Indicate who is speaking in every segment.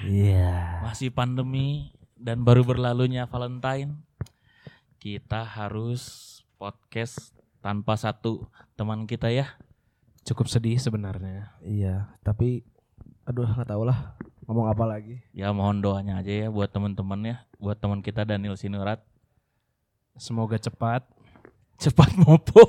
Speaker 1: Iya.
Speaker 2: masih pandemi dan baru berlalunya Valentine, kita harus podcast tanpa satu teman kita ya.
Speaker 3: Cukup sedih sebenarnya.
Speaker 1: Iya, tapi aduh nggak tahu lah ngomong apa lagi.
Speaker 2: Ya mohon doanya aja ya buat teman-teman ya, buat teman kita Daniel Sinurat.
Speaker 3: Semoga cepat.
Speaker 2: Cepat mopo.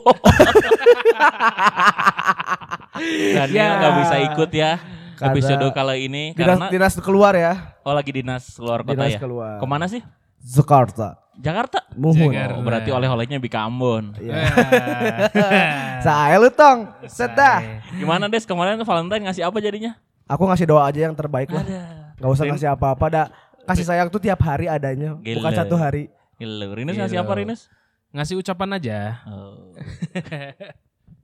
Speaker 2: Daniel
Speaker 1: Ya.
Speaker 2: nggak bisa ikut ya
Speaker 1: Karena
Speaker 2: episode kali ini
Speaker 1: Dinas,
Speaker 2: karena
Speaker 1: dinas keluar ya.
Speaker 2: oh lagi dinas luar kota
Speaker 1: Dinas
Speaker 2: ya.
Speaker 1: keluar.
Speaker 2: Kemana sih?
Speaker 1: Jakarta.
Speaker 2: Jakarta.
Speaker 1: Muhun.
Speaker 3: Jakarta.
Speaker 2: Oh, berarti oleh-olehnya di Ambon.
Speaker 3: Eh.
Speaker 1: Iya. Saya lu tong. Set dah.
Speaker 2: Gimana Des kemarin Valentine ngasih apa jadinya?
Speaker 1: Aku ngasih doa aja yang terbaik lah.
Speaker 2: Ada.
Speaker 1: Gak usah ngasih apa-apa dah. Kasih sayang tuh tiap hari adanya, bukan
Speaker 2: Gila.
Speaker 1: satu hari.
Speaker 2: Gila, Rinus ngasih
Speaker 3: Gila.
Speaker 2: apa Rinus?
Speaker 3: Ngasih ucapan aja.
Speaker 2: Oh.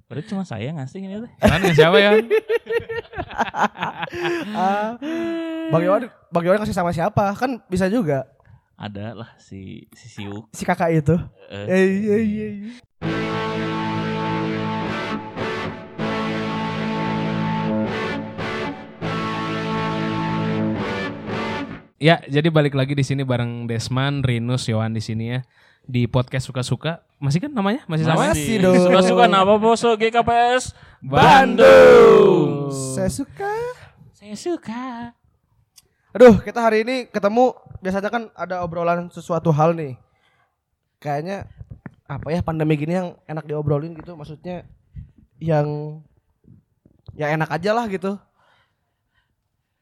Speaker 2: Berarti cuma saya ngasih ini teh.
Speaker 3: Kan siapa ya?
Speaker 1: Ah, bagaimana bagaimana kasih sama siapa? Kan bisa juga
Speaker 2: Ada lah si si Siuk.
Speaker 1: si kakak itu.
Speaker 2: Eh,
Speaker 1: Eh, iya, iya, iya.
Speaker 3: Ya, jadi balik lagi di sini bareng Desman, Rinus, Yohan di sini ya di podcast suka-suka. Masih kan namanya? Masih sama? ya?
Speaker 1: Masih dong.
Speaker 2: Suka-suka nama boso GKPS
Speaker 1: Bandung. Saya suka.
Speaker 2: Saya suka.
Speaker 1: Aduh, kita hari ini ketemu biasanya kan ada obrolan sesuatu hal nih. Kayaknya apa ya pandemi gini yang enak diobrolin gitu, maksudnya yang ya enak aja lah gitu.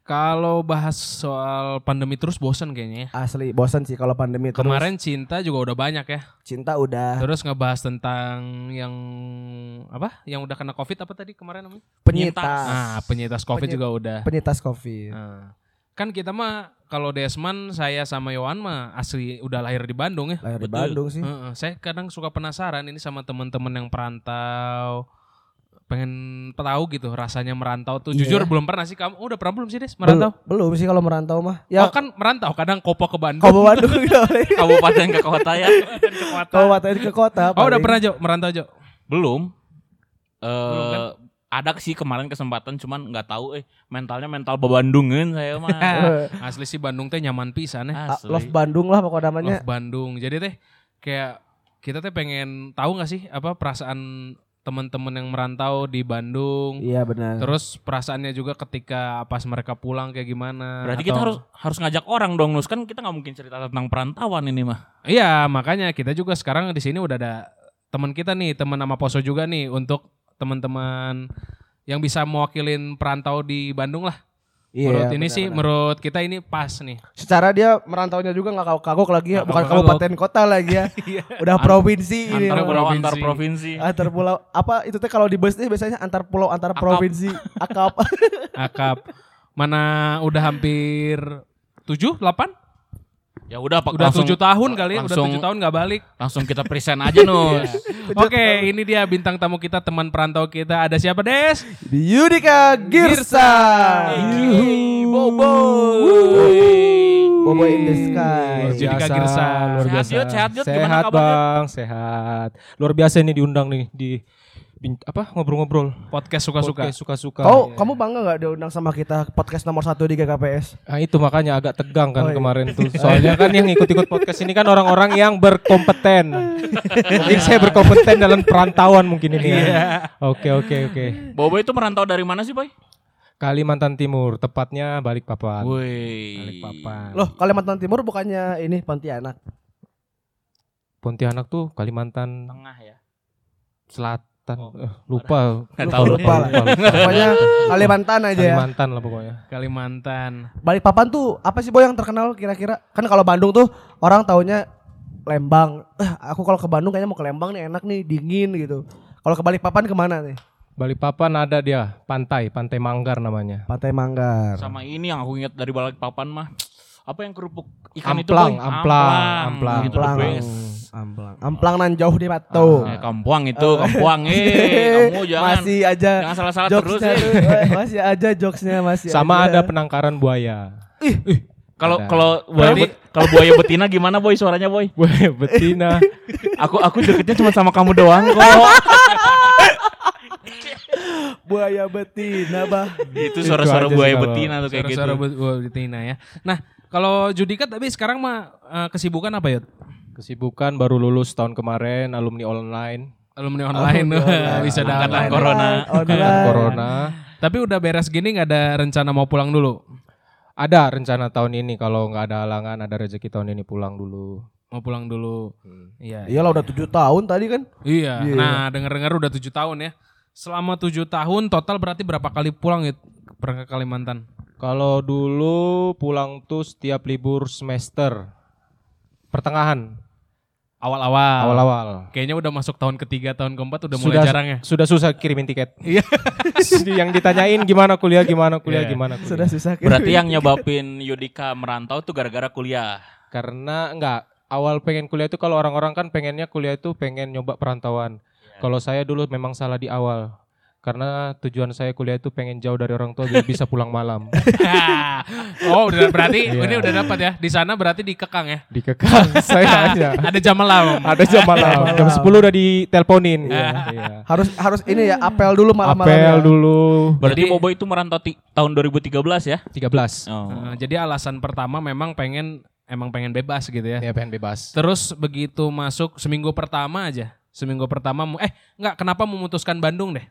Speaker 3: Kalau bahas soal pandemi terus bosen kayaknya. ya.
Speaker 1: Asli bosan sih kalau pandemi terus. Ah.
Speaker 3: Kemarin cinta juga udah banyak ya.
Speaker 1: cinta udah
Speaker 3: Terus ngebahas tentang yang apa? Yang udah kena Covid apa tadi kemarin namanya? Ah,
Speaker 1: penyitas.
Speaker 3: penyintas Covid
Speaker 1: Penyit-
Speaker 3: juga udah.
Speaker 1: Penyitas Covid.
Speaker 3: Nah, kan kita mah kalau Desman, saya sama Yohan mah asli udah lahir di Bandung ya.
Speaker 1: Lahir di
Speaker 2: betul.
Speaker 1: Bandung sih.
Speaker 3: Heeh, saya kadang suka penasaran ini sama teman-teman yang perantau pengen tahu gitu rasanya merantau tuh.
Speaker 1: Iya ya.
Speaker 3: Jujur belum pernah sih kamu. Udah pernah belum sih Des merantau?
Speaker 1: Belum, belum sih kalau merantau mah. Ya
Speaker 3: Oh kan merantau kadang kopo ke Bandung.
Speaker 1: kalau Bandung ya, paling.
Speaker 2: Kabupaten ke kota ya?
Speaker 1: Kalau watain ke kota.
Speaker 3: Oh udah
Speaker 1: paling.
Speaker 3: pernah Jo merantau Jo.
Speaker 2: Belum. Eh
Speaker 3: Belum kan?
Speaker 2: ada sih kemarin kesempatan cuman nggak tahu eh mentalnya mental bebandungan saya mah.
Speaker 1: Eh,
Speaker 3: Asli sih Bandung teh nyaman pisan ya.
Speaker 1: ah,
Speaker 2: Asli.
Speaker 1: Love Bandung lah pokoknya namanya.
Speaker 3: Love Bandung. Jadi teh kayak kita teh pengen tahu nggak sih apa perasaan teman-teman yang merantau di Bandung.
Speaker 1: Iya benar.
Speaker 3: Terus perasaannya juga ketika pas mereka pulang kayak gimana?
Speaker 2: Berarti
Speaker 3: Atau-
Speaker 2: kita harus harus ngajak orang dong Nus kan kita nggak mungkin cerita tentang perantauan ini mah.
Speaker 3: Iya, makanya kita juga sekarang di sini udah ada teman kita nih, teman sama Poso juga nih untuk teman-teman yang bisa mewakilin perantau di Bandung lah.
Speaker 1: Iya.
Speaker 3: menurut ini
Speaker 1: benar,
Speaker 3: sih,
Speaker 1: benar.
Speaker 3: menurut kita ini pas nih.
Speaker 1: secara dia merantaunya juga nggak kagok kagok lagi ya
Speaker 3: Nggak
Speaker 1: bukan
Speaker 3: kagok-kagok.
Speaker 1: kabupaten kota lagi ya udah
Speaker 2: An-
Speaker 1: provinsi
Speaker 2: Antar
Speaker 1: ini
Speaker 3: Iya,
Speaker 2: pulau
Speaker 3: provinsi.
Speaker 2: antar provinsi.
Speaker 1: antar pulau apa itu teh kalau di bus nih biasanya antar pulau antar
Speaker 2: Akap.
Speaker 1: provinsi akap
Speaker 3: Akap mana udah hampir 7, 8?
Speaker 2: Ya udah Pak
Speaker 3: Udah
Speaker 2: langsung-
Speaker 3: 7 tahun kali, ya, udah
Speaker 2: langsung-
Speaker 3: 7 tahun nggak balik.
Speaker 2: Langsung kita present aja Nus.
Speaker 1: Iya.
Speaker 3: Oke, ini dia bintang tamu kita, teman perantau kita. Ada siapa, Des?
Speaker 1: di Yudika Girsa
Speaker 2: Hey, Bobo.
Speaker 1: Bobo in the sky Ya.
Speaker 3: Luar Jadi biasa. Kak Girsa.
Speaker 4: luar
Speaker 2: Sehat,
Speaker 4: biasa.
Speaker 2: Yud, sehat, Yud. Gimana
Speaker 4: Sehat,
Speaker 2: kabarnya?
Speaker 4: bang, sehat. Luar biasa ini diundang nih di bin- apa ngobrol-ngobrol.
Speaker 3: Podcast suka-suka.
Speaker 4: Podcast suka-suka.
Speaker 3: Iya.
Speaker 1: Kau Oh,
Speaker 2: Iya.
Speaker 1: kamu bangga gak diundang sama kita podcast nomor satu di GKPS?
Speaker 4: Nah, itu makanya agak tegang kan
Speaker 1: Oh, iya.
Speaker 4: kemarin tuh. Soalnya kan yang ikut-ikut podcast ini kan orang-orang yang berkompeten. mungkin saya berkompeten dalam perantauan mungkin ini.
Speaker 2: Iya.
Speaker 4: ya. Oke, oke, oke.
Speaker 2: Bobo itu merantau dari mana sih, Boy?
Speaker 4: Kalimantan Timur, tepatnya Balikpapan.
Speaker 2: Wih.
Speaker 4: Balikpapan.
Speaker 1: Loh Kalimantan Timur bukannya ini Pontianak?
Speaker 3: Iya.
Speaker 4: Pontianak tuh Kalimantan
Speaker 2: Tengah ya.
Speaker 4: Selatan.
Speaker 2: Oh.
Speaker 4: Eh, lupa.
Speaker 2: Nggak
Speaker 1: Lupa, lupa lah. Pokoknya Kalimantan aja ya.
Speaker 4: Kalimantan lah pokoknya.
Speaker 3: Kalimantan.
Speaker 1: Balikpapan tuh apa sih boy yang terkenal kira-kira? Kan kalau Bandung tuh orang taunya Lembang. Eh, aku kalau ke Bandung kayaknya mau ke Lembang nih enak nih dingin gitu. Kalau ke Balikpapan kemana nih?
Speaker 4: Balikpapan ada dia, pantai, pantai Manggar namanya.
Speaker 1: Pantai Manggar.
Speaker 2: Sama ini yang aku ingat dari balik papan mah. Apa yang kerupuk ikan itu, Boy?
Speaker 4: Amplang,
Speaker 2: Gitu,
Speaker 4: amplang, amplang.
Speaker 2: Itu the
Speaker 1: Amplang.
Speaker 2: best.
Speaker 1: Amplang. Amplang nan jauh di Batu.
Speaker 2: Eh, kampuang itu, kampuang. Eh, kamu jangan
Speaker 1: masih aja
Speaker 2: jangan salah-salah terus.
Speaker 1: jokesnya
Speaker 2: eh.
Speaker 1: tuh. masih aja jokesnya masih
Speaker 4: Sama
Speaker 1: aja.
Speaker 4: ada penangkaran buaya.
Speaker 2: Kalau
Speaker 4: Ada.
Speaker 2: kalau buaya
Speaker 3: Berarti-
Speaker 2: bet- kalau buaya betina gimana boy suaranya boy?
Speaker 4: Buaya betina.
Speaker 2: Aku aku deketnya cuma sama kamu doang kok.
Speaker 1: buaya betina bah.
Speaker 2: Itu
Speaker 4: Itu
Speaker 2: suara-suara
Speaker 4: aja sih
Speaker 2: buaya
Speaker 4: kalau-
Speaker 2: betina tuh kayak gitu.
Speaker 3: Suara-suara bu- bu- betina ya. Nah, kalau Judikat tapi sekarang mah eh, kesibukan apa Yud?
Speaker 4: Kesibukan baru lulus tahun kemarin alumni online
Speaker 3: Alumni online
Speaker 1: online.
Speaker 3: bisa
Speaker 2: Angkatan
Speaker 3: dalam.
Speaker 2: online. corona.
Speaker 1: Online.
Speaker 4: corona.
Speaker 3: Tapi udah beres gini nggak ada rencana mau pulang dulu?
Speaker 4: Ada rencana tahun ini kalau nggak ada halangan ada rezeki tahun ini pulang dulu.
Speaker 3: Mau pulang dulu?
Speaker 4: Hmm.
Speaker 3: Iya.
Speaker 1: Iyalah udah 7 tahun tadi kan.
Speaker 3: Iya.
Speaker 1: Iya.
Speaker 3: Nah, dengar-dengar udah tujuh tahun ya. Selama tujuh tahun total berarti berapa kali pulang Yud? Pernah ke Kalimantan?
Speaker 4: Kalau dulu pulang tuh setiap libur semester pertengahan
Speaker 3: Awal-awal.
Speaker 4: awal-awal.
Speaker 3: Kayaknya udah masuk tahun ketiga, tahun keempat Ah. udah mulai
Speaker 4: Sudah-
Speaker 3: jarang ya.
Speaker 4: Sudah susah kirimin tiket.
Speaker 3: Iya.
Speaker 4: yang ditanyain gimana kuliah gimana kuliah
Speaker 3: Iya.
Speaker 4: gimana kuliah.
Speaker 1: Sudah susah kan.
Speaker 2: Berarti ya. yang nyebabin Yudika merantau tuh gara-gara kuliah.
Speaker 4: Karena enggak awal pengen kuliah itu kalau orang-orang kan pengennya kuliah itu pengen nyoba perantauan. Kalau saya dulu memang salah di awal. Karena tujuan saya kuliah itu pengen jauh dari orang tua biar bisa pulang malam.
Speaker 3: oh, udah berarti
Speaker 4: Iya.
Speaker 3: ini udah dapat ya. Di sana berarti dikekang ya.
Speaker 4: Dikekang saya aja.
Speaker 3: Ada jam malam.
Speaker 4: Ada jam malam. Jam 10 udah diteleponin. Iya.
Speaker 1: Harus harus ini ya apel dulu malam-malam.
Speaker 4: Apel
Speaker 1: ya.
Speaker 4: dulu
Speaker 2: Berarti
Speaker 3: Jadi-
Speaker 2: Bobo itu merantau ti- tahun 2013 ya?
Speaker 4: 13.
Speaker 2: Oh.
Speaker 3: Nah, jadi alasan pertama memang pengen emang pengen bebas gitu ya.
Speaker 4: Ya pengen bebas.
Speaker 3: Terus begitu masuk seminggu pertama aja. Seminggu pertama mu- eh nggak kenapa memutuskan Bandung deh?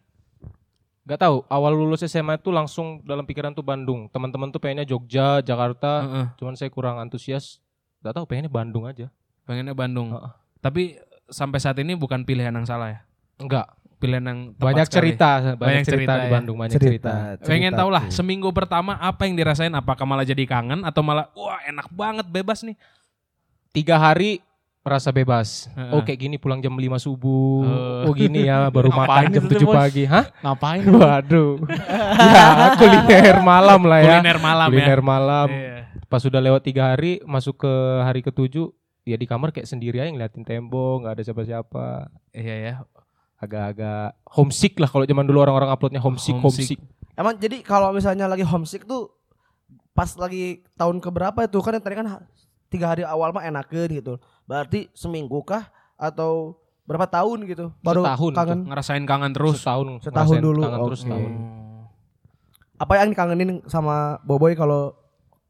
Speaker 4: Gak tahu, awal lulus SMA itu langsung dalam pikiran tuh Bandung. Teman-teman tuh pengennya Jogja, Jakarta.
Speaker 3: Heeh,
Speaker 4: Cuman saya kurang antusias. Gak tahu pengennya Bandung aja.
Speaker 3: pengennya Bandung.
Speaker 4: Heeh.
Speaker 3: Tapi sampai saat ini bukan pilihan yang salah ya.
Speaker 4: Enggak,
Speaker 3: Pilihan yang tepat
Speaker 4: banyak
Speaker 3: sekali.
Speaker 4: cerita, banyak,
Speaker 3: Banyak
Speaker 4: cerita,
Speaker 3: cerita
Speaker 4: di
Speaker 3: ya.
Speaker 4: Bandung, banyak cerita.
Speaker 1: Cerita.
Speaker 3: Pengen
Speaker 1: cerita
Speaker 3: tahu lah
Speaker 1: tuh.
Speaker 3: seminggu pertama apa yang dirasain? Apakah malah jadi kangen atau malah wah enak banget bebas nih?
Speaker 4: Tiga hari merasa bebas.
Speaker 3: Heeh.
Speaker 4: Oh kayak gini pulang jam 5 subuh.
Speaker 3: Eh.
Speaker 4: Oh gini ya baru makan
Speaker 2: Ngapain
Speaker 4: jam
Speaker 2: itu tuh,
Speaker 4: 7
Speaker 2: Bos?
Speaker 4: pagi. Hah?
Speaker 2: Ngapain?
Speaker 4: Waduh. ya kuliner malam lah ya.
Speaker 3: Kuliner malam
Speaker 4: Kuliner malam.
Speaker 3: ya. Iya.
Speaker 4: Pas sudah lewat tiga hari masuk ke hari ketujuh ya di kamar kayak sendiri aja ngeliatin tembok nggak ada siapa-siapa
Speaker 3: Iya ya.
Speaker 4: agak-agak homesick lah kalau zaman dulu orang-orang uploadnya homesick
Speaker 3: Homesick.
Speaker 4: homesick,
Speaker 1: Emang jadi kalau misalnya lagi homesick tuh pas lagi tahun keberapa itu kan yang tadi kan ha- tiga hari awal mah enakan gitu. Berarti seminggu kah atau berapa tahun gitu baru
Speaker 4: Setahun
Speaker 1: kangen
Speaker 3: Ngerasain kangen terus.
Speaker 4: setahun
Speaker 1: Setahun
Speaker 4: ngerasain
Speaker 1: dulu,
Speaker 4: kangen terus
Speaker 1: oke.
Speaker 4: setahun
Speaker 1: apa yang dikangenin sama Boboy kalau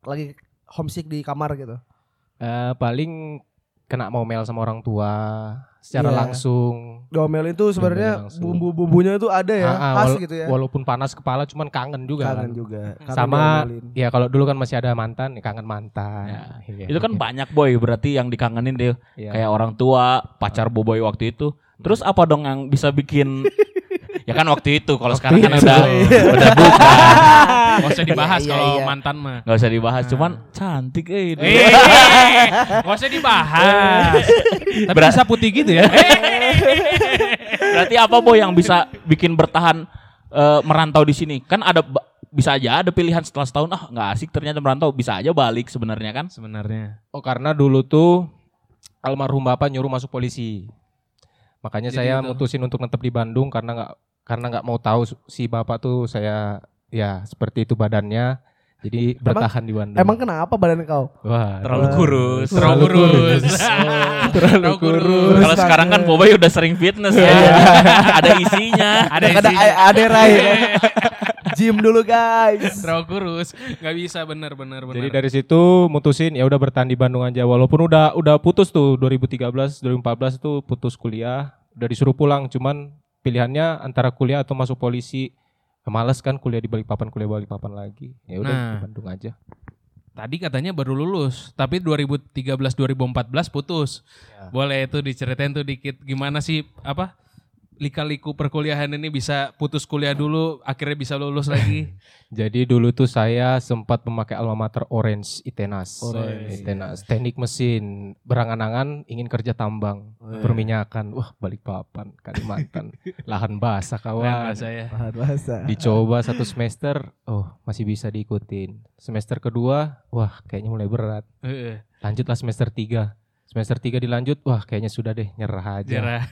Speaker 1: lagi homesick di kamar gitu
Speaker 4: Eh, paling kena momel sama orang tua secara
Speaker 1: Iya.
Speaker 4: langsung
Speaker 1: domel itu sebenarnya
Speaker 4: Diomelin langsung.
Speaker 1: bumbu-bumbunya itu ada ya
Speaker 4: Ah, ah,
Speaker 1: khas
Speaker 4: wal-
Speaker 1: gitu ya
Speaker 4: walaupun panas kepala cuman kangen juga
Speaker 1: kangen
Speaker 4: kan.
Speaker 1: juga Kangen
Speaker 4: Sama
Speaker 1: diomelin.
Speaker 4: ya kalau dulu kan masih ada mantan ya kangen mantan
Speaker 2: Ya.
Speaker 4: Iya.
Speaker 2: Itu kan banyak boy berarti yang dikangenin deh
Speaker 4: Iya.
Speaker 2: kayak orang tua, pacar Boboy waktu itu. Terus apa dong yang bisa bikin ya kan waktu itu kalau sekarang kan
Speaker 4: itu.
Speaker 2: udah
Speaker 3: iya.
Speaker 2: udah bukan.
Speaker 3: Gak usah dibahas
Speaker 1: Iya,
Speaker 3: kalau
Speaker 1: iya.
Speaker 3: mantan mah.
Speaker 2: Gak usah dibahas, cuman cantik eh. dulu.
Speaker 3: Eh, gak usah dibahas. Tapi
Speaker 2: Berat-
Speaker 3: bisa putih gitu ya.
Speaker 2: Eh. Berarti apa boy yang bisa bikin bertahan eh, merantau di sini? Kan ada ba- bisa aja ada pilihan setelah setahun ah nggak asik ternyata merantau bisa aja balik sebenarnya kan
Speaker 3: Sebenarnya.
Speaker 4: Oh karena dulu tuh almarhum bapak nyuruh masuk polisi. Makanya
Speaker 3: Jadi
Speaker 2: gitu.
Speaker 4: saya
Speaker 3: itu.
Speaker 4: mutusin untuk tetap di Bandung karena nggak karena nggak mau tahu su- si bapak tuh saya ya seperti itu badannya. Jadi bertahan di Bandung.
Speaker 1: emang kenapa badan kau
Speaker 4: Wah,
Speaker 2: terlalu kurus
Speaker 3: Terlalu kurus. Oh. Terlalu kurus.
Speaker 2: kalau sekarang kan Boboy udah sering fitness ya ada isinya
Speaker 3: Ada
Speaker 1: ada
Speaker 3: isinya.
Speaker 1: ada Rai gym dulu guys
Speaker 3: Terlalu kurus. Gak bisa bener bener bener.
Speaker 4: Jadi dari situ mutusin ya udah bertahan di Bandung aja walaupun udah udah putus tuh 2013 2014 tuh putus kuliah udah disuruh pulang cuman pilihannya antara kuliah atau masuk polisi Ya, Males kan kuliah di Balikpapan kuliah Balikpapan lagi ya udah
Speaker 3: Nah.
Speaker 4: di Bandung aja
Speaker 3: Tadi katanya baru lulus, tapi 2013 2014 putus. Boleh itu diceritain tuh dikit gimana sih apa lika-liku perkuliahan ini bisa putus kuliah dulu akhirnya bisa lulus lagi.
Speaker 4: Jadi dulu tuh saya sempat memakai alma mater Orange Itenas.
Speaker 1: Orange.
Speaker 4: Itenas, teknik mesin. Berangan-angan ingin kerja tambang, perminyakan. Wah, balik papan Kalimantan. Lahan basah
Speaker 3: Wah,
Speaker 4: kawan.
Speaker 3: saya.
Speaker 1: Bahan bahasa
Speaker 4: Dicoba satu semester, oh masih bisa diikutin. Semester kedua, wah kayaknya mulai berat.
Speaker 3: Heeh,
Speaker 4: Lanjutlah semester tiga. Semester tiga dilanjut, wah kayaknya sudah deh nyerah aja.
Speaker 3: Jarah.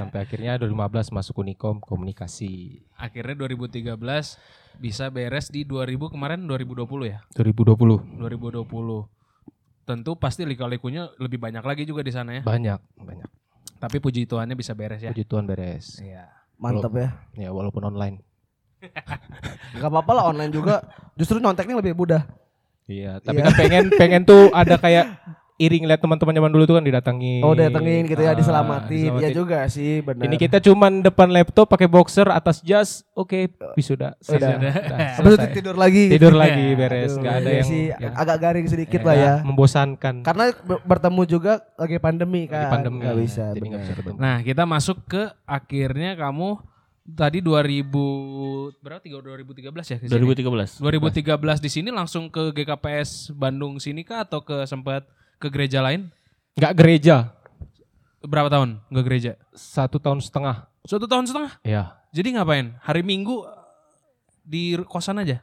Speaker 4: Sampai akhirnya 2015 masuk Unikom Komunikasi.
Speaker 3: Akhirnya 2013 bisa beres di 2000 kemarin 2020 ya.
Speaker 4: 2020
Speaker 3: 2020. Tentu pasti lika-likunya lebih banyak lagi juga di sana ya.
Speaker 4: banyak banyak.
Speaker 3: Tapi puji Tuhannya bisa beres ya.
Speaker 4: Puji Tuhan beres.
Speaker 3: Iya.
Speaker 1: mantap ya
Speaker 4: Ya walaupun online.
Speaker 1: Gak apa-apa lah online juga. Justru nyonteknya lebih mudah.
Speaker 4: Iya, tapi
Speaker 1: Iya.
Speaker 4: kan pengen pengen tuh ada kayak iring lihat teman-teman zaman dulu tuh kan didatangin.
Speaker 1: Oh datengin gitu ya
Speaker 4: Ah,
Speaker 1: diselamatin. Iya
Speaker 4: diselamatin.
Speaker 1: juga sih benar.
Speaker 4: Ini kita cuman depan laptop pakai boxer atas jas. Oke, wisuda.
Speaker 1: Udah.
Speaker 4: Udah,
Speaker 1: Habis itu
Speaker 4: selesai.
Speaker 1: tidur lagi.
Speaker 4: Tidur lagi beres,
Speaker 1: Aduh,
Speaker 4: nggak ada
Speaker 1: iya
Speaker 4: yang
Speaker 1: sih,
Speaker 4: ya.
Speaker 1: agak garing sedikit
Speaker 4: Ya,
Speaker 1: lah ya.
Speaker 4: Membosankan.
Speaker 1: Karena ber- bertemu juga lagi pandemi kan.
Speaker 4: Lagi pandemi.
Speaker 1: Gak bisa.
Speaker 4: Jadi nggak
Speaker 1: benar.
Speaker 4: bisa bertemu.
Speaker 3: Nah, kita masuk ke akhirnya kamu tadi 2000 berapa? Tiga- 2013 ya ke sini?
Speaker 2: 2013.
Speaker 3: 2013 di sini langsung ke GKPS Bandung sini kah atau ke sempat ke gereja lain?
Speaker 4: Nggak gereja.
Speaker 3: Berapa tahun ke gereja?
Speaker 4: Satu tahun setengah.
Speaker 3: Suatu tahun setengah.
Speaker 4: Ya.
Speaker 3: Jadi ngapain? Hari Minggu eh, di kosan aja.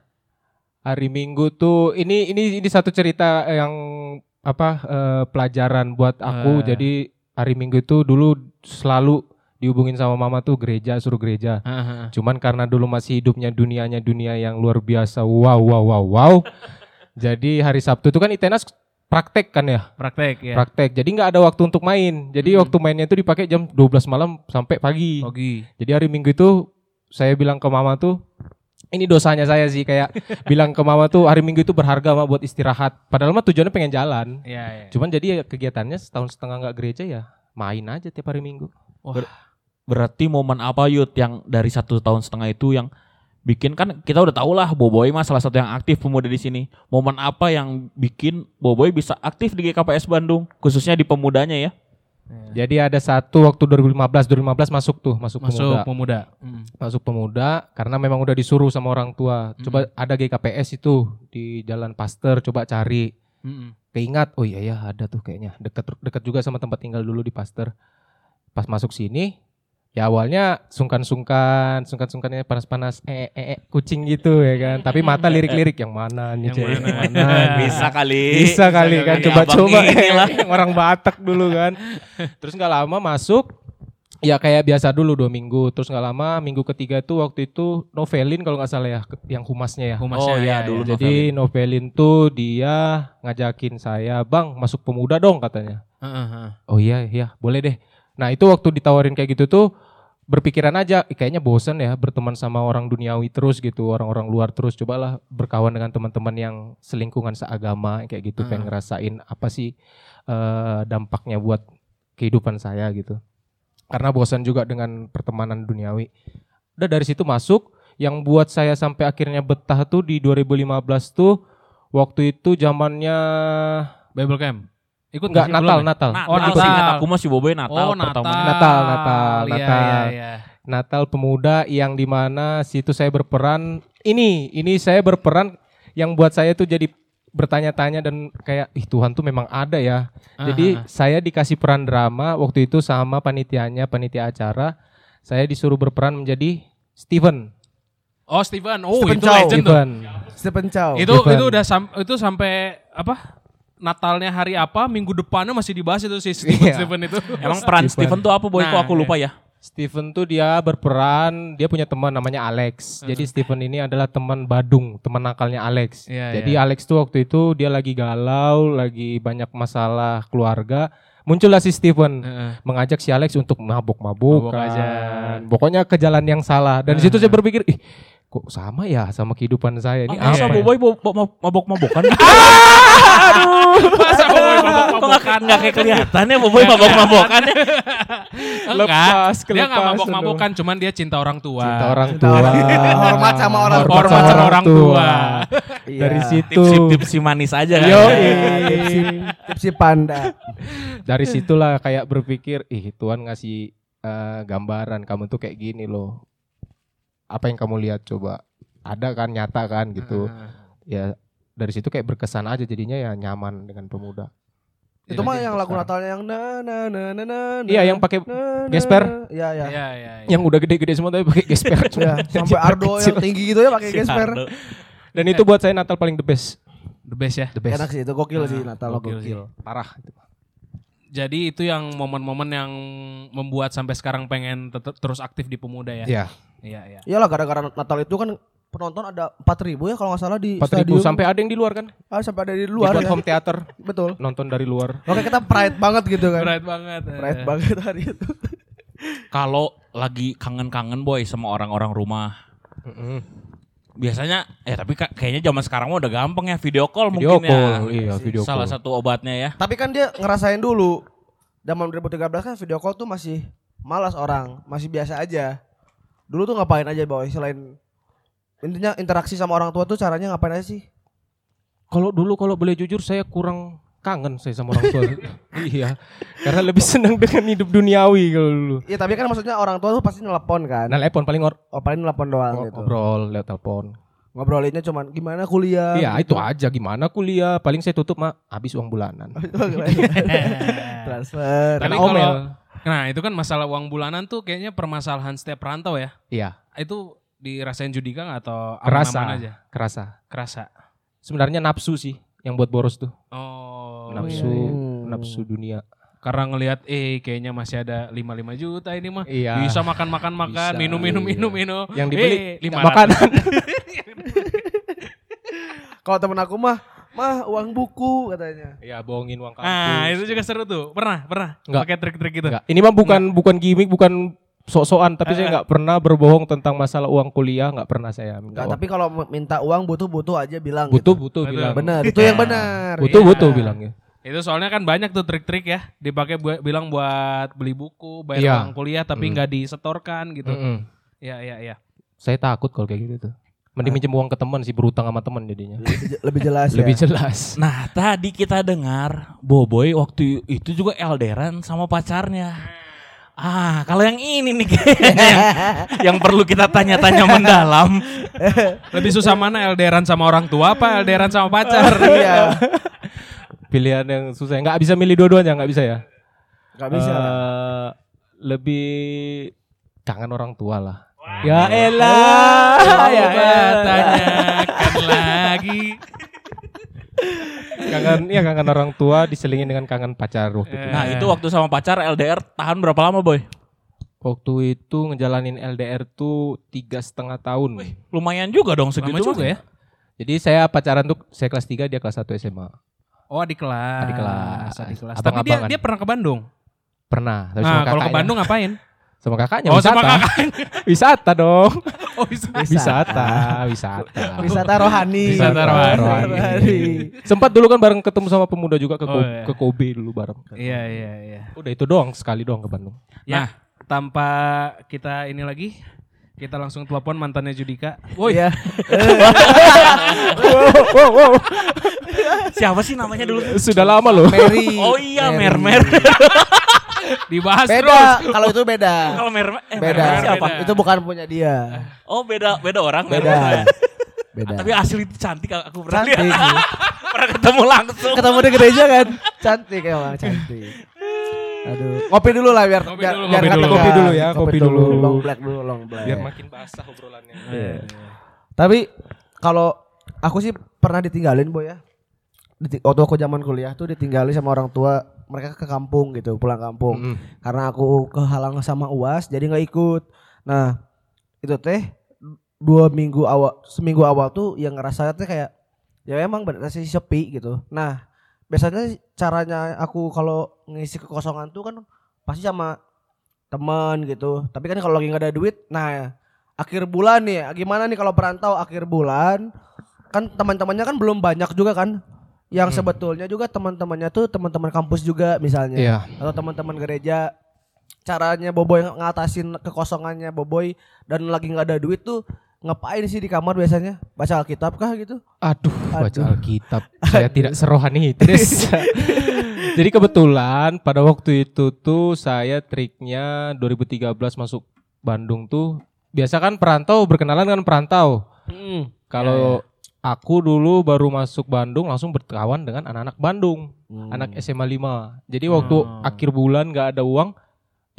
Speaker 4: Hari Minggu tuh ini ini ini satu cerita yang apa eh, pelajaran buat
Speaker 3: Ah.
Speaker 4: aku. Jadi hari Minggu itu dulu selalu dihubungin sama mama tuh gereja suruh gereja. Cuman karena dulu masih hidupnya dunianya dunia yang luar biasa. Wow, wow, wow, wow. Jadi hari Sabtu itu kan Itenas praktek kan ya,
Speaker 3: Praktek ya.
Speaker 4: praktek. Jadi nggak ada waktu untuk main. Jadi
Speaker 3: Hmm.
Speaker 4: waktu mainnya itu dipakai jam 12 malam sampai pagi.
Speaker 3: Pagi.
Speaker 4: Jadi hari Minggu itu saya bilang ke mama tuh ini dosanya saya sih kayak bilang ke mama tuh hari Minggu itu berharga mah buat istirahat. Padahal mah tujuannya pengen jalan.
Speaker 3: Iya, iya.
Speaker 4: Cuman jadi ya kegiatannya setahun setengah nggak gereja ya main aja tiap hari Minggu.
Speaker 2: Berarti momen apa Yud yang dari satu tahun setengah itu yang bikin kan kita udah tau lah Boboy mah salah satu yang aktif pemuda di sini. Momen apa yang bikin Boboy bisa aktif di GKPS Bandung khususnya di pemudanya ya?
Speaker 4: Jadi ada satu waktu 2015, 2015 masuk tuh, masuk, pemuda.
Speaker 3: Masuk pemuda. Mm.
Speaker 4: masuk pemuda karena memang udah disuruh sama orang tua. Coba ada GKPS itu di Jalan Pasteur, coba cari.
Speaker 3: Mm-mm.
Speaker 4: Keingat, oh iya ya ada tuh kayaknya. Dekat dekat juga sama tempat tinggal dulu di Pasteur. Pas masuk sini, ya awalnya sungkan-sungkan, sungkan-sungkannya panas-panas, eh, eh, eh, kucing gitu ya kan. Tapi mata lirik-lirik yang mana nih,
Speaker 3: Yang
Speaker 4: Cek?
Speaker 3: mana? Nah,
Speaker 4: Yang mana?
Speaker 2: Bisa kali.
Speaker 4: Gitu ya. bisa kali
Speaker 3: bisa
Speaker 4: kan
Speaker 3: kali.
Speaker 4: coba-coba
Speaker 2: Abang ini lah.
Speaker 4: orang Batak dulu kan terus nggak lama masuk ya kayak biasa dulu dua minggu terus nggak lama minggu ketiga tuh waktu itu novelin kalau nggak salah ya ke- yang humasnya ya
Speaker 3: Humasnya,
Speaker 2: Oh, iya,
Speaker 3: ya,
Speaker 2: dulu.
Speaker 3: ya.
Speaker 4: jadi novelin tuh dia ngajakin saya bang masuk pemuda dong katanya
Speaker 3: Heeh, heeh.
Speaker 4: oh iya iya boleh deh nah itu waktu ditawarin kayak gitu tuh berpikiran aja "Ih, kayaknya bosen ya berteman sama orang duniawi terus gitu orang-orang luar terus cobalah berkawan dengan teman-teman yang selingkungan seagama kayak
Speaker 3: Hmm.
Speaker 4: gitu pengen ngerasain apa sih eh, dampaknya buat kehidupan saya gitu karena bosan juga dengan pertemanan duniawi udah dari situ masuk yang buat saya sampai akhirnya betah tuh di 2015 tuh waktu itu zamannya
Speaker 3: Bible camp. Ikut
Speaker 4: enggak
Speaker 3: sih
Speaker 4: Natal
Speaker 3: belum ya?
Speaker 4: Natal
Speaker 2: Nah, Natal,
Speaker 3: Oh, Natal.
Speaker 2: sih, kata aku mah si Boboy Natal
Speaker 3: Oh,
Speaker 2: pertama.
Speaker 3: Natal.
Speaker 4: Natal, Natal,
Speaker 3: Iya,
Speaker 4: Natal.
Speaker 3: iya, iya.
Speaker 4: Natal Pemuda yang dimana situ saya berperan ini ini saya berperan yang buat saya tuh jadi bertanya-tanya dan kayak ih Tuhan tuh memang ada ya. Jadi saya dikasih peran drama waktu itu sama panitianya panitia acara saya disuruh berperan menjadi Steven.
Speaker 3: Oh, Steven. Oh,
Speaker 1: Stephen
Speaker 3: itu
Speaker 1: Chow.
Speaker 3: legend tuh.
Speaker 4: Steven.
Speaker 1: Stephen Chow.
Speaker 3: Itu
Speaker 4: Steven.
Speaker 3: itu udah sam- itu sampai apa? Natalnya hari apa? Minggu depannya masih dibahas itu si Steven
Speaker 4: Iya.
Speaker 3: Steven itu.
Speaker 2: Emang peran Steven tuh apa Boy? Kok
Speaker 3: Nah,
Speaker 2: aku lupa ya?
Speaker 4: Steven tuh dia berperan, dia punya teman namanya Alex. Jadi Steven ini adalah teman Badung, teman nakalnya Alex.
Speaker 3: Hmm. Iya,
Speaker 4: Jadi Alex tuh waktu itu dia lagi galau, lagi banyak masalah keluarga. Muncullah si Steven
Speaker 3: Heeh.
Speaker 4: mengajak si Alex untuk
Speaker 3: Hmm.
Speaker 4: mabuk-mabukan.
Speaker 3: Mabuk aja. Hmm.
Speaker 4: Pokoknya ke jalan yang salah. Dan di situ saya berpikir, ih kok sama ya sama kehidupan saya
Speaker 3: Oh,
Speaker 4: ini
Speaker 2: Ah, masa
Speaker 4: apa? ya?"
Speaker 2: Boboy bo- bo- mab- mabok-mabokan gitu?
Speaker 3: Masa mau
Speaker 2: Kok nggak nggak kayak kelihatan ya Boboy mabok-mabokan ya?
Speaker 4: Lepas,
Speaker 3: Dia nggak
Speaker 4: kelepas,
Speaker 3: mabok-mabokan, cuman dia cinta orang tua.
Speaker 4: Cinta orang
Speaker 1: Cinta
Speaker 4: tua.
Speaker 1: orang- hormat sama orang tua.
Speaker 3: Hormat sama orang tua.
Speaker 1: Iya.
Speaker 4: Dari situ. Oh, iya.
Speaker 2: Tips-tips si manis aja kan?
Speaker 4: Yo,
Speaker 1: Tipsi panda.
Speaker 4: dari situlah kayak berpikir ih Tuhan ngasih eh, gambaran kamu tuh kayak gini loh apa yang kamu lihat coba ada kan nyata kan gitu
Speaker 3: Heeh.
Speaker 4: ya dari situ kayak berkesan aja jadinya ya nyaman dengan pemuda
Speaker 1: Itu mah
Speaker 3: Iya,
Speaker 4: ya,
Speaker 1: yang lagu Natalnya yang na na na na na. na,
Speaker 4: iya yang pakai
Speaker 1: na, na.
Speaker 4: gesper.
Speaker 1: Iya iya.
Speaker 3: Iya, iya, iya.
Speaker 4: ya. yang udah gede-gede semua tapi pakai gesper Iya,
Speaker 1: Ya, sampai Ardo yang tinggi gitu ya pakai
Speaker 2: Si
Speaker 1: gesper.
Speaker 2: Ardo.
Speaker 4: dan itu buat saya Natal paling the best
Speaker 3: The best ya.
Speaker 4: the best
Speaker 1: Enak sih itu gokil sih Natal lo
Speaker 3: gokil sih.
Speaker 1: gokil.
Speaker 4: parah itu
Speaker 3: Jadi itu yang momen-momen yang membuat sampai sekarang pengen tetep terus aktif di pemuda ya.
Speaker 4: ya
Speaker 3: Iya, iya.
Speaker 1: Iyalah gara-gara Natal itu kan penonton ada 4000 ya kalau nggak salah di
Speaker 4: 4000
Speaker 1: stadion.
Speaker 4: sampai ada yang di luar kan
Speaker 1: ah, sampai ada di
Speaker 4: luar
Speaker 1: luar
Speaker 4: Dibuat
Speaker 1: ya.
Speaker 4: home theater
Speaker 1: Betul.
Speaker 4: nonton dari luar
Speaker 1: Oke kita pride banget gitu kan.
Speaker 3: Berat banget.
Speaker 4: ya.
Speaker 3: Eh.
Speaker 1: Pride banget hari itu.
Speaker 2: Kalau lagi kangen-kangen boy sama orang-orang rumah, Biasanya eh tapi ka- kayaknya zaman sekarang mah udah gampang ya video call
Speaker 4: Video
Speaker 2: mungkin
Speaker 4: call,
Speaker 2: ya.
Speaker 4: iya, video
Speaker 2: Salah
Speaker 4: call.
Speaker 2: satu obatnya ya.
Speaker 1: Tapi kan dia ngerasain dulu. Zaman 2013 kan video call tuh masih malas orang, masih biasa aja. Dulu tuh ngapain aja boy selain intinya interaksi sama orang tua tuh caranya ngapain aja sih?
Speaker 4: Kalau dulu kalau boleh jujur saya kurang kangen saya sama orang tua. iya. Karena lebih senang dengan hidup duniawi kalau dulu.
Speaker 1: Iya tapi kan maksudnya orang tua tuh pasti nelpon kan.
Speaker 4: Nah, telepon paling ngor-
Speaker 1: Oh paling nelpon doang gitu.
Speaker 4: ngobrol lewat telepon.
Speaker 1: Ngobrolinnya cuman gimana kuliah. Gitu.
Speaker 4: Iya, itu aja gimana kuliah. Paling saya tutup mah habis uang bulanan.
Speaker 1: Oh, iya. Transfer.
Speaker 3: Eh. Tapi
Speaker 4: Karena
Speaker 3: kalau-
Speaker 4: omel.
Speaker 3: Nah itu kan masalah uang bulanan tuh kayaknya permasalahan setiap perantau ya.
Speaker 4: Iya,
Speaker 3: Itu dirasain Judika nggak atau
Speaker 4: Kerasa.
Speaker 3: aman-aman aja?
Speaker 4: kerasa.
Speaker 3: Kerasa.
Speaker 4: Sebenarnya nafsu sih yang buat boros tuh.
Speaker 3: Oh.
Speaker 4: nafsu,
Speaker 3: iya, iya.
Speaker 1: Hmm.
Speaker 4: nafsu dunia.
Speaker 3: Karena ngelihat eh kayaknya masih ada 55 juta ini mah.
Speaker 4: Iya.
Speaker 3: Bisa makan makan makan,
Speaker 4: Bisa,
Speaker 3: minum minum
Speaker 4: iya.
Speaker 3: minum minum.
Speaker 4: Yang dibeli
Speaker 3: Eh, lima
Speaker 4: makanan.
Speaker 1: Kalau temen aku mah mah uang buku katanya.
Speaker 4: Iya, bohongin uang kampus.
Speaker 3: Nah itu juga seru tuh. Pernah pernah.
Speaker 4: Nggak.
Speaker 3: Pakai trik-trik gitu.
Speaker 4: Enggak, ini mah bukan bukan gimmick, bukan sok-sokan, tapi
Speaker 3: Eh,
Speaker 4: saya nggak pernah berbohong tentang masalah uang kuliah, nggak pernah saya
Speaker 1: Enggak,
Speaker 3: Oh.
Speaker 4: minta. uang.
Speaker 1: tapi kalau minta uang butuh-butuh aja bilang
Speaker 4: butuh
Speaker 1: gitu.
Speaker 4: butuh
Speaker 3: Betul.
Speaker 4: bilang.
Speaker 1: Benar, itu yang benar.
Speaker 4: Butuh
Speaker 3: Iya.
Speaker 4: butuh bilangnya.
Speaker 3: Itu soalnya kan banyak tuh trik-trik ya dipakai buat bilang buat beli buku, bayar
Speaker 4: Iya. Hmm.
Speaker 3: uang kuliah tapi
Speaker 4: Mm.
Speaker 3: nggak disetorkan gitu.
Speaker 4: Mm-mm.
Speaker 3: Ya ya ya.
Speaker 4: Saya takut kalau kayak gitu tuh. Mending minjem uang ke teman sih berutang sama teman jadinya.
Speaker 1: Lebih je- Lebih jelas ya.
Speaker 4: Lebih jelas.
Speaker 2: Nah, tadi kita dengar Boboy waktu itu juga elderan sama pacarnya. Ah, kalau yang ini nih kayaknya yang, yang perlu kita tanya-tanya mendalam.
Speaker 3: Lebih susah mana elderan sama orang tua apa elderan sama pacar?
Speaker 1: Iya.
Speaker 4: Pilihan yang susah. Nggak bisa milih dua-duanya, nggak bisa ya?
Speaker 1: Gak bisa. lah.
Speaker 4: Eh, lebih kangen orang tua lah. Ya elah.
Speaker 3: Oh,
Speaker 4: ya elah.
Speaker 3: tanyakan lagi.
Speaker 4: Kangen ya kangen orang tua diselingin dengan kangen pacar waktu itu.
Speaker 2: Nah, itu waktu sama pacar LDR tahan berapa lama, Boy?
Speaker 4: Waktu itu ngejalanin LDR tuh tiga setengah tahun.
Speaker 2: Lumayan juga dong segitu
Speaker 3: Lama juga
Speaker 2: mah.
Speaker 3: ya.
Speaker 4: Jadi saya pacaran tuh saya kelas 3 dia kelas 1 SMA.
Speaker 3: Oh adik kelas.
Speaker 4: Adik kelas.
Speaker 3: Adik kelas.
Speaker 4: Abang
Speaker 3: Tapi dia,
Speaker 4: abangan.
Speaker 3: dia pernah ke Bandung.
Speaker 4: Pernah, tapi
Speaker 3: Nah kalau
Speaker 4: sama
Speaker 3: ke
Speaker 4: kakaknya.
Speaker 3: Bandung ngapain?
Speaker 4: Sama kakaknya
Speaker 3: Oh,
Speaker 4: wisata.
Speaker 3: sama
Speaker 4: wisata dong.
Speaker 3: Oh bisa.
Speaker 4: Wisata, wisata.
Speaker 1: Wisata rohani.
Speaker 3: Wisata rohani.
Speaker 4: Sempat dulu kan bareng ketemu sama pemuda juga ke,
Speaker 3: Oh,
Speaker 4: Ko-
Speaker 3: iya.
Speaker 4: ke Kobe dulu bareng.
Speaker 3: Iya iya iya.
Speaker 4: Udah itu doang sekali doang ke Bandung.
Speaker 3: Ya, tanpa kita ini lagi, kita langsung telepon mantannya Judika.
Speaker 1: Woi. Iya.
Speaker 2: Siapa sih namanya dulu?
Speaker 4: Sudah lama loh.
Speaker 1: Mary.
Speaker 2: Oh iya, mermer.
Speaker 3: Dibahas
Speaker 1: Beda.
Speaker 3: terus.
Speaker 1: Kalau itu beda.
Speaker 2: Kalau mermer eh,
Speaker 1: Beda.
Speaker 2: mermer siapa?
Speaker 3: Beda.
Speaker 1: Itu bukan punya dia.
Speaker 2: Oh, beda beda orang mermer.
Speaker 1: Beda. Beda.
Speaker 2: Tapi asli cantik aku pernah
Speaker 1: cantik.
Speaker 2: lihat. pernah ketemu langsung.
Speaker 1: Ketemu di gereja kan. Cantik emang, cantik. Aduh, kopi dulu lah biar
Speaker 3: Kopi
Speaker 1: biar,
Speaker 3: dulu,
Speaker 1: biar
Speaker 3: kopi
Speaker 1: nggak
Speaker 3: dulu.
Speaker 1: tegang.
Speaker 4: Kopi dulu ya, kopi dulu.
Speaker 1: Long black dulu, long black.
Speaker 4: makin basah obrolannya. Iya.
Speaker 1: Tapi kalau aku sih pernah ditinggalin boy ya. Diti- Waktu aku zaman kuliah tuh ditinggalin sama orang tua mereka ke kampung gitu pulang kampung karena aku kehalang sama uas jadi nggak ikut. Nah itu teh dua minggu awal seminggu awal tuh yang ngerasa teh kayak ya emang bener sih sepi gitu. Nah biasanya caranya aku kalau ngisi kekosongan tuh kan pasti sama teman gitu. Tapi kan kalau lagi nggak ada duit, nah akhir bulan nih gimana nih kalau perantau akhir bulan kan teman-temannya kan belum banyak juga kan yang sebetulnya juga teman-temannya tuh teman-teman kampus juga misalnya
Speaker 4: Iya.
Speaker 1: atau teman-teman gereja caranya Boboy ng- ngatasin kekosongannya Boboy dan lagi nggak ada duit tuh ngapain sih di kamar biasanya baca Alkitab kah gitu
Speaker 4: Aduh, baca
Speaker 1: Aduh.
Speaker 4: Alkitab. Saya tidak serohani itu. Des. Jadi kebetulan pada waktu itu tuh saya triknya 2013 masuk Bandung tuh biasa kan perantau berkenalan kan perantau. Kalau aku dulu baru masuk Bandung langsung berkawan dengan anak-anak Bandung,
Speaker 1: Hmm.
Speaker 4: anak SMA 5. Jadi waktu
Speaker 3: Hmm.
Speaker 4: akhir bulan nggak ada uang,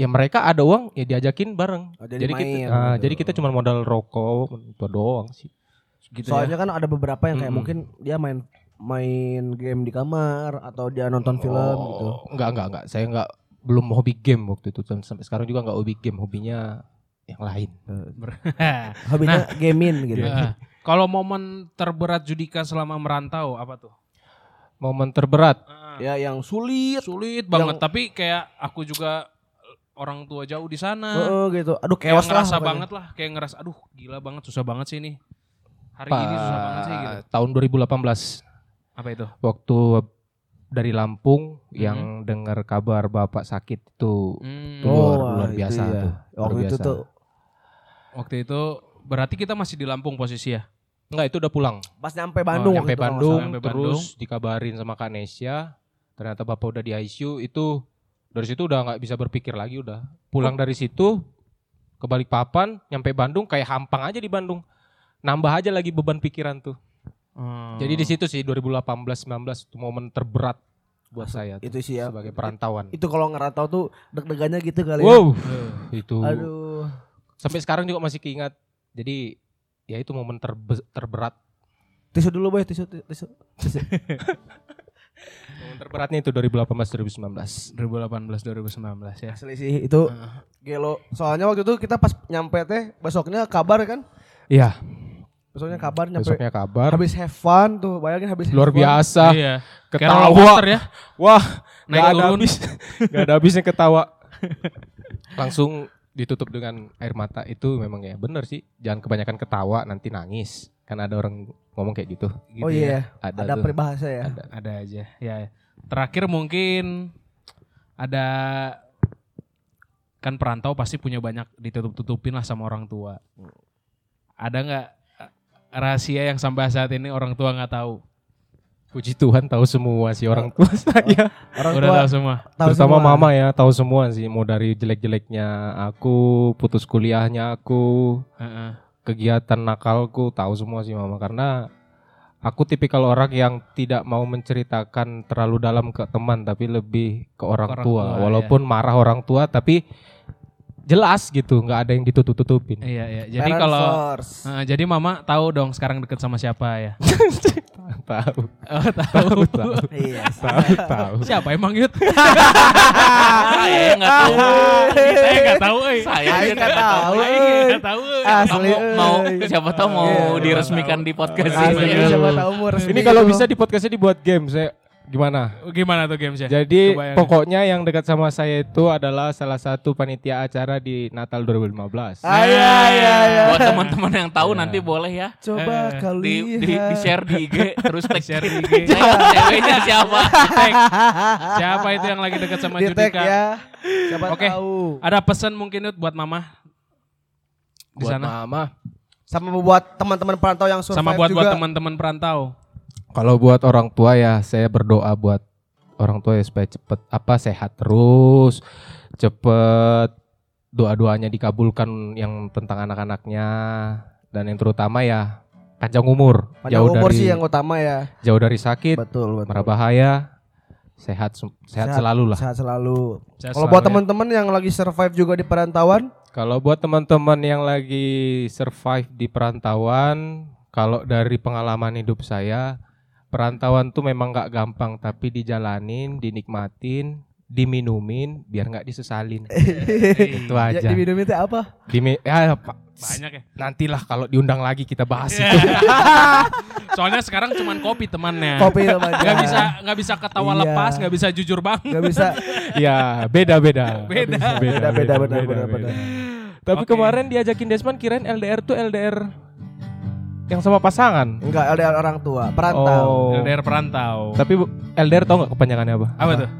Speaker 4: ya mereka ada uang ya diajakin bareng.
Speaker 1: Oh, jadi
Speaker 4: jadi kita
Speaker 1: main.
Speaker 4: ah, jadi kita cuma modal rokok itu doang sih.
Speaker 3: Gitu
Speaker 1: soalnya kan ada beberapa yang kayak
Speaker 4: ya.
Speaker 1: mungkin
Speaker 4: Mm-mm.
Speaker 1: dia main main game di kamar atau dia nonton film
Speaker 4: Oh,
Speaker 1: gitu
Speaker 4: Enggak, enggak, enggak. Saya enggak belum hobi game waktu itu dan sampai sekarang juga enggak hobi game, hobinya yang lain.
Speaker 1: Hmm.
Speaker 3: ya.
Speaker 1: hobinya gaming gitu
Speaker 3: Nah,
Speaker 4: Iya.
Speaker 3: Kalau momen terberat Judika selama merantau apa tuh?
Speaker 4: Momen terberat
Speaker 1: ya yang sulit
Speaker 3: Sulit banget,
Speaker 1: Yang-
Speaker 3: tapi kayak aku juga eh, orang tua jauh di sana.
Speaker 1: Heeh, gitu. Aduh kewas
Speaker 3: Kayak
Speaker 1: lah.
Speaker 3: ngerasa
Speaker 1: pokoknya.
Speaker 3: banget lah, kayak ngerasa aduh gila banget susah banget sih ini. Hari
Speaker 4: Pak,
Speaker 3: ini susah banget sih gitu.
Speaker 4: tahun 2018
Speaker 3: Apa itu?
Speaker 4: waktu dari Lampung
Speaker 3: Mhm.
Speaker 4: yang dengar kabar bapak sakit itu
Speaker 3: Hmm,
Speaker 4: Tuh. luar- luar
Speaker 1: itu
Speaker 4: biasa
Speaker 1: iya.
Speaker 4: tuh, luar
Speaker 1: Waktu itu
Speaker 4: biasa.
Speaker 1: tuh
Speaker 3: Waktu itu berarti kita masih di Lampung posisi ya.
Speaker 4: enggak itu udah pulang
Speaker 1: pas nyampe Bandung.
Speaker 4: Oh, nyampe
Speaker 1: waktu itu kalau nggak
Speaker 4: Bandung
Speaker 1: salah.
Speaker 3: Nyampe
Speaker 4: terus dikabarin sama Kak Nesya ternyata bapak udah di ICU itu dari situ udah nggak bisa berpikir lagi udah pulang
Speaker 1: Oh.
Speaker 4: dari situ ke Balikpapan nyampe Bandung kayak hampang aja di Bandung nambah aja lagi beban pikiran tuh
Speaker 1: Hmm.
Speaker 4: jadi di situ sih 2018 19 itu momen terberat buat saya tuh
Speaker 1: Itu sih ya.
Speaker 4: sebagai perantauan
Speaker 1: Itu kalau ngerantau tuh deg-degannya gitu kali ya.
Speaker 4: wow itu
Speaker 1: Aduh.
Speaker 4: sampai sekarang juga masih keingat. Jadi ya itu momen terbe- terberat.
Speaker 1: Tisu dulu boy, tisu tisu. tisu.
Speaker 4: Momen terberatnya itu 2018 2019.
Speaker 3: 2018 2019 ya.
Speaker 1: Asli sih itu gelo. Soalnya waktu itu kita pas nyampe teh besoknya kabar kan.
Speaker 4: Iya,
Speaker 1: Besoknya kabar nyampe
Speaker 4: besoknya kabar.
Speaker 1: habis have fun tuh bayangin habis have
Speaker 4: Luar
Speaker 1: fun.
Speaker 4: biasa.
Speaker 3: iya. Kayak roller
Speaker 4: Ketawa.
Speaker 3: coaster ya.
Speaker 4: Wah,
Speaker 3: Naik
Speaker 4: nggak ada
Speaker 3: turun.
Speaker 4: habis. Gak ada habisnya ketawa. Langsung ditutup dengan air mata itu memang ya bener sih. Jangan kebanyakan ketawa nanti nangis. Kan ada orang ngomong kayak gitu.
Speaker 3: Gitu
Speaker 1: oh
Speaker 3: ya.
Speaker 1: iya,
Speaker 4: Ada,
Speaker 1: ada
Speaker 4: tuh.
Speaker 1: peribahasa ya.
Speaker 3: Ada aja. Ya. Terakhir mungkin ada kan perantau pasti punya banyak ditutup-tutupin lah sama orang tua. Ada nggak eh, rahasia yang sampai saat ini orang tua nggak tahu?
Speaker 4: Puji Tuhan tahu semua sih orang tua saya.
Speaker 1: Orang
Speaker 3: Udah
Speaker 1: tua
Speaker 3: tahu semua.
Speaker 1: tahu
Speaker 4: Terutama
Speaker 1: semua.
Speaker 4: mama ya, tahu semua sih mau dari jelek-jeleknya aku, putus kuliahnya aku,
Speaker 3: Heeh.
Speaker 4: kegiatan nakalku, tahu semua sih mama karena aku tipikal orang yang tidak mau menceritakan terlalu dalam ke teman tapi lebih ke orang,
Speaker 3: Orang
Speaker 4: tua. iya.
Speaker 3: tua,
Speaker 4: Walaupun marah orang tua tapi jelas gitu, nggak ada yang ditutup-tutupin.
Speaker 3: Iya iya. Jadi
Speaker 1: Parent
Speaker 3: kalau
Speaker 1: first. Iya.
Speaker 3: eh, jadi mama tahu dong sekarang deket sama siapa ya?
Speaker 4: Eh, tahu,
Speaker 3: Oh,
Speaker 4: tahu,
Speaker 3: tahu.
Speaker 4: tahu,
Speaker 1: Iya.
Speaker 4: tahu, tahu.
Speaker 3: siapa emang Yud?
Speaker 2: saya Ah, iya, nggak tahu.
Speaker 3: Saya nggak tahu. eh.
Speaker 2: Saya
Speaker 1: Aing
Speaker 2: nggak
Speaker 1: Ah, iya. nggak tahu.
Speaker 3: Saya nggak tahu. eh.
Speaker 1: Asli.
Speaker 2: Mau, mau
Speaker 1: euy.
Speaker 2: siapa tahu mau
Speaker 1: Iya, iya,
Speaker 2: diresmikan di podcast
Speaker 1: Asli,
Speaker 2: ini.
Speaker 4: Iya.
Speaker 1: siapa tahu mau resmi
Speaker 4: Ini kalau
Speaker 1: gitu.
Speaker 4: bisa di podcastnya dibuat game, saya gimana?
Speaker 3: Gimana tuh gamesnya?
Speaker 4: Jadi
Speaker 3: Kebayang.
Speaker 4: pokoknya Eh, yang dekat sama saya itu adalah salah satu panitia acara di Natal 2015.
Speaker 1: Ah, iya, iya, iya.
Speaker 2: Buat teman-teman yang tahu
Speaker 3: Iya.
Speaker 2: nanti boleh ya
Speaker 1: Coba kali
Speaker 2: di, di, di share di IG terus tag
Speaker 3: Share di IG.
Speaker 2: Saya ceweknya siapa?
Speaker 3: Tag. Siapa itu yang lagi dekat sama
Speaker 1: di tag
Speaker 3: Judika?
Speaker 1: ya. Siapa
Speaker 3: Oke.
Speaker 1: tahu.
Speaker 3: Ada pesan mungkin Yud buat mama di
Speaker 4: Buat
Speaker 3: sana
Speaker 4: Mama.
Speaker 1: Sama buat teman-teman perantau yang survive
Speaker 3: sama buat
Speaker 1: juga.
Speaker 3: buat teman-teman perantau.
Speaker 4: Kalau buat orang tua ya saya berdoa buat orang tua ya supaya cepet apa sehat terus, cepet doa-doanya dikabulkan yang tentang anak-anaknya dan yang terutama ya panjang umur,
Speaker 1: Panjang
Speaker 4: jauh
Speaker 1: umur
Speaker 4: dari
Speaker 1: sih yang utama ya.
Speaker 4: jauh dari sakit,
Speaker 1: Betul, betul.
Speaker 4: merabahaya, sehat, sem- sehat
Speaker 1: Sehat.
Speaker 4: selalu lah.
Speaker 1: Sehat selalu.
Speaker 3: Sehat
Speaker 1: Kalau
Speaker 3: selalu
Speaker 1: buat
Speaker 3: ya.
Speaker 1: teman-teman yang lagi survive juga di perantauan,
Speaker 4: Kalau buat teman-teman yang lagi survive di perantauan, kalau dari pengalaman hidup saya, perantauan tuh memang nggak gampang, tapi dijalanin, dinikmatin, diminumin, biar nggak disesalin.
Speaker 1: Iya,
Speaker 4: Itu
Speaker 1: ya,
Speaker 4: aja.
Speaker 1: diminum itu apa?
Speaker 4: Dimi- ya, Pak,
Speaker 3: Banyak Iya. ya.
Speaker 4: nantilah kalau diundang lagi kita bahas itu.
Speaker 3: Soalnya sekarang cuman kopi temannya.
Speaker 1: Kopi sama aja.
Speaker 3: Gak bisa Nah. nggak bisa ketawa
Speaker 1: Iya.
Speaker 3: lepas, nggak bisa jujur banget.
Speaker 1: Gak bisa.
Speaker 4: ya beda-beda.
Speaker 3: Beda.
Speaker 1: Beda, beda, benar, benar, benar.
Speaker 4: Tapi
Speaker 3: Oke.
Speaker 4: kemarin diajakin Desman kirain LDR tuh LDR yang sama pasangan.
Speaker 1: Enggak, LDR orang tua, perantau.
Speaker 4: Oh.
Speaker 3: Daerah perantau.
Speaker 4: Tapi bu- LDR tau nggak kepanjangannya apa?
Speaker 3: Apa tuh?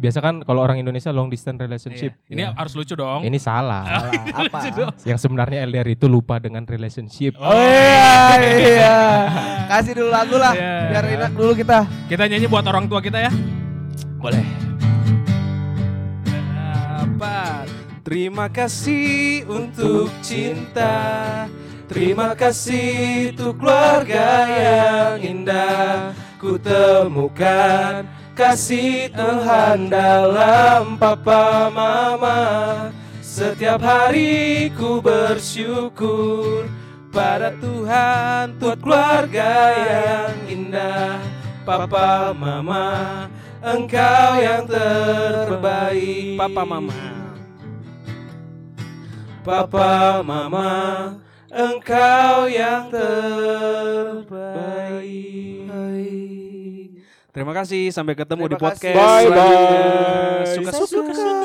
Speaker 4: Biasa kan kalau orang Indonesia long distance relationship.
Speaker 3: Iya. Ini
Speaker 4: Ya.
Speaker 3: harus lucu dong.
Speaker 4: Ini salah.
Speaker 1: Salah, Ah, apa?
Speaker 4: Yang sebenarnya LDR itu lupa dengan relationship.
Speaker 1: Oh iya, iya. Kasih dulu lagu lah,
Speaker 3: Iya.
Speaker 1: biar enak dulu kita.
Speaker 3: Kita nyanyi buat orang tua kita ya.
Speaker 4: Boleh.
Speaker 3: Dapat.
Speaker 4: Terima kasih untuk cinta. Terima kasih untuk keluarga yang indah. Ku temukan kasih Tuhan dalam papa mama. Setiap hari ku bersyukur pada Tuhan buat keluarga yang indah. Papa mama, engkau yang terbaik.
Speaker 3: Papa mama.
Speaker 4: Papa, Mama, engkau yang terbaik.
Speaker 3: Terima kasih, sampai ketemu
Speaker 1: Terima
Speaker 3: di podcast
Speaker 1: kasih.
Speaker 4: Bye,
Speaker 3: selanjutnya.
Speaker 4: bye.
Speaker 3: Suka suka suka.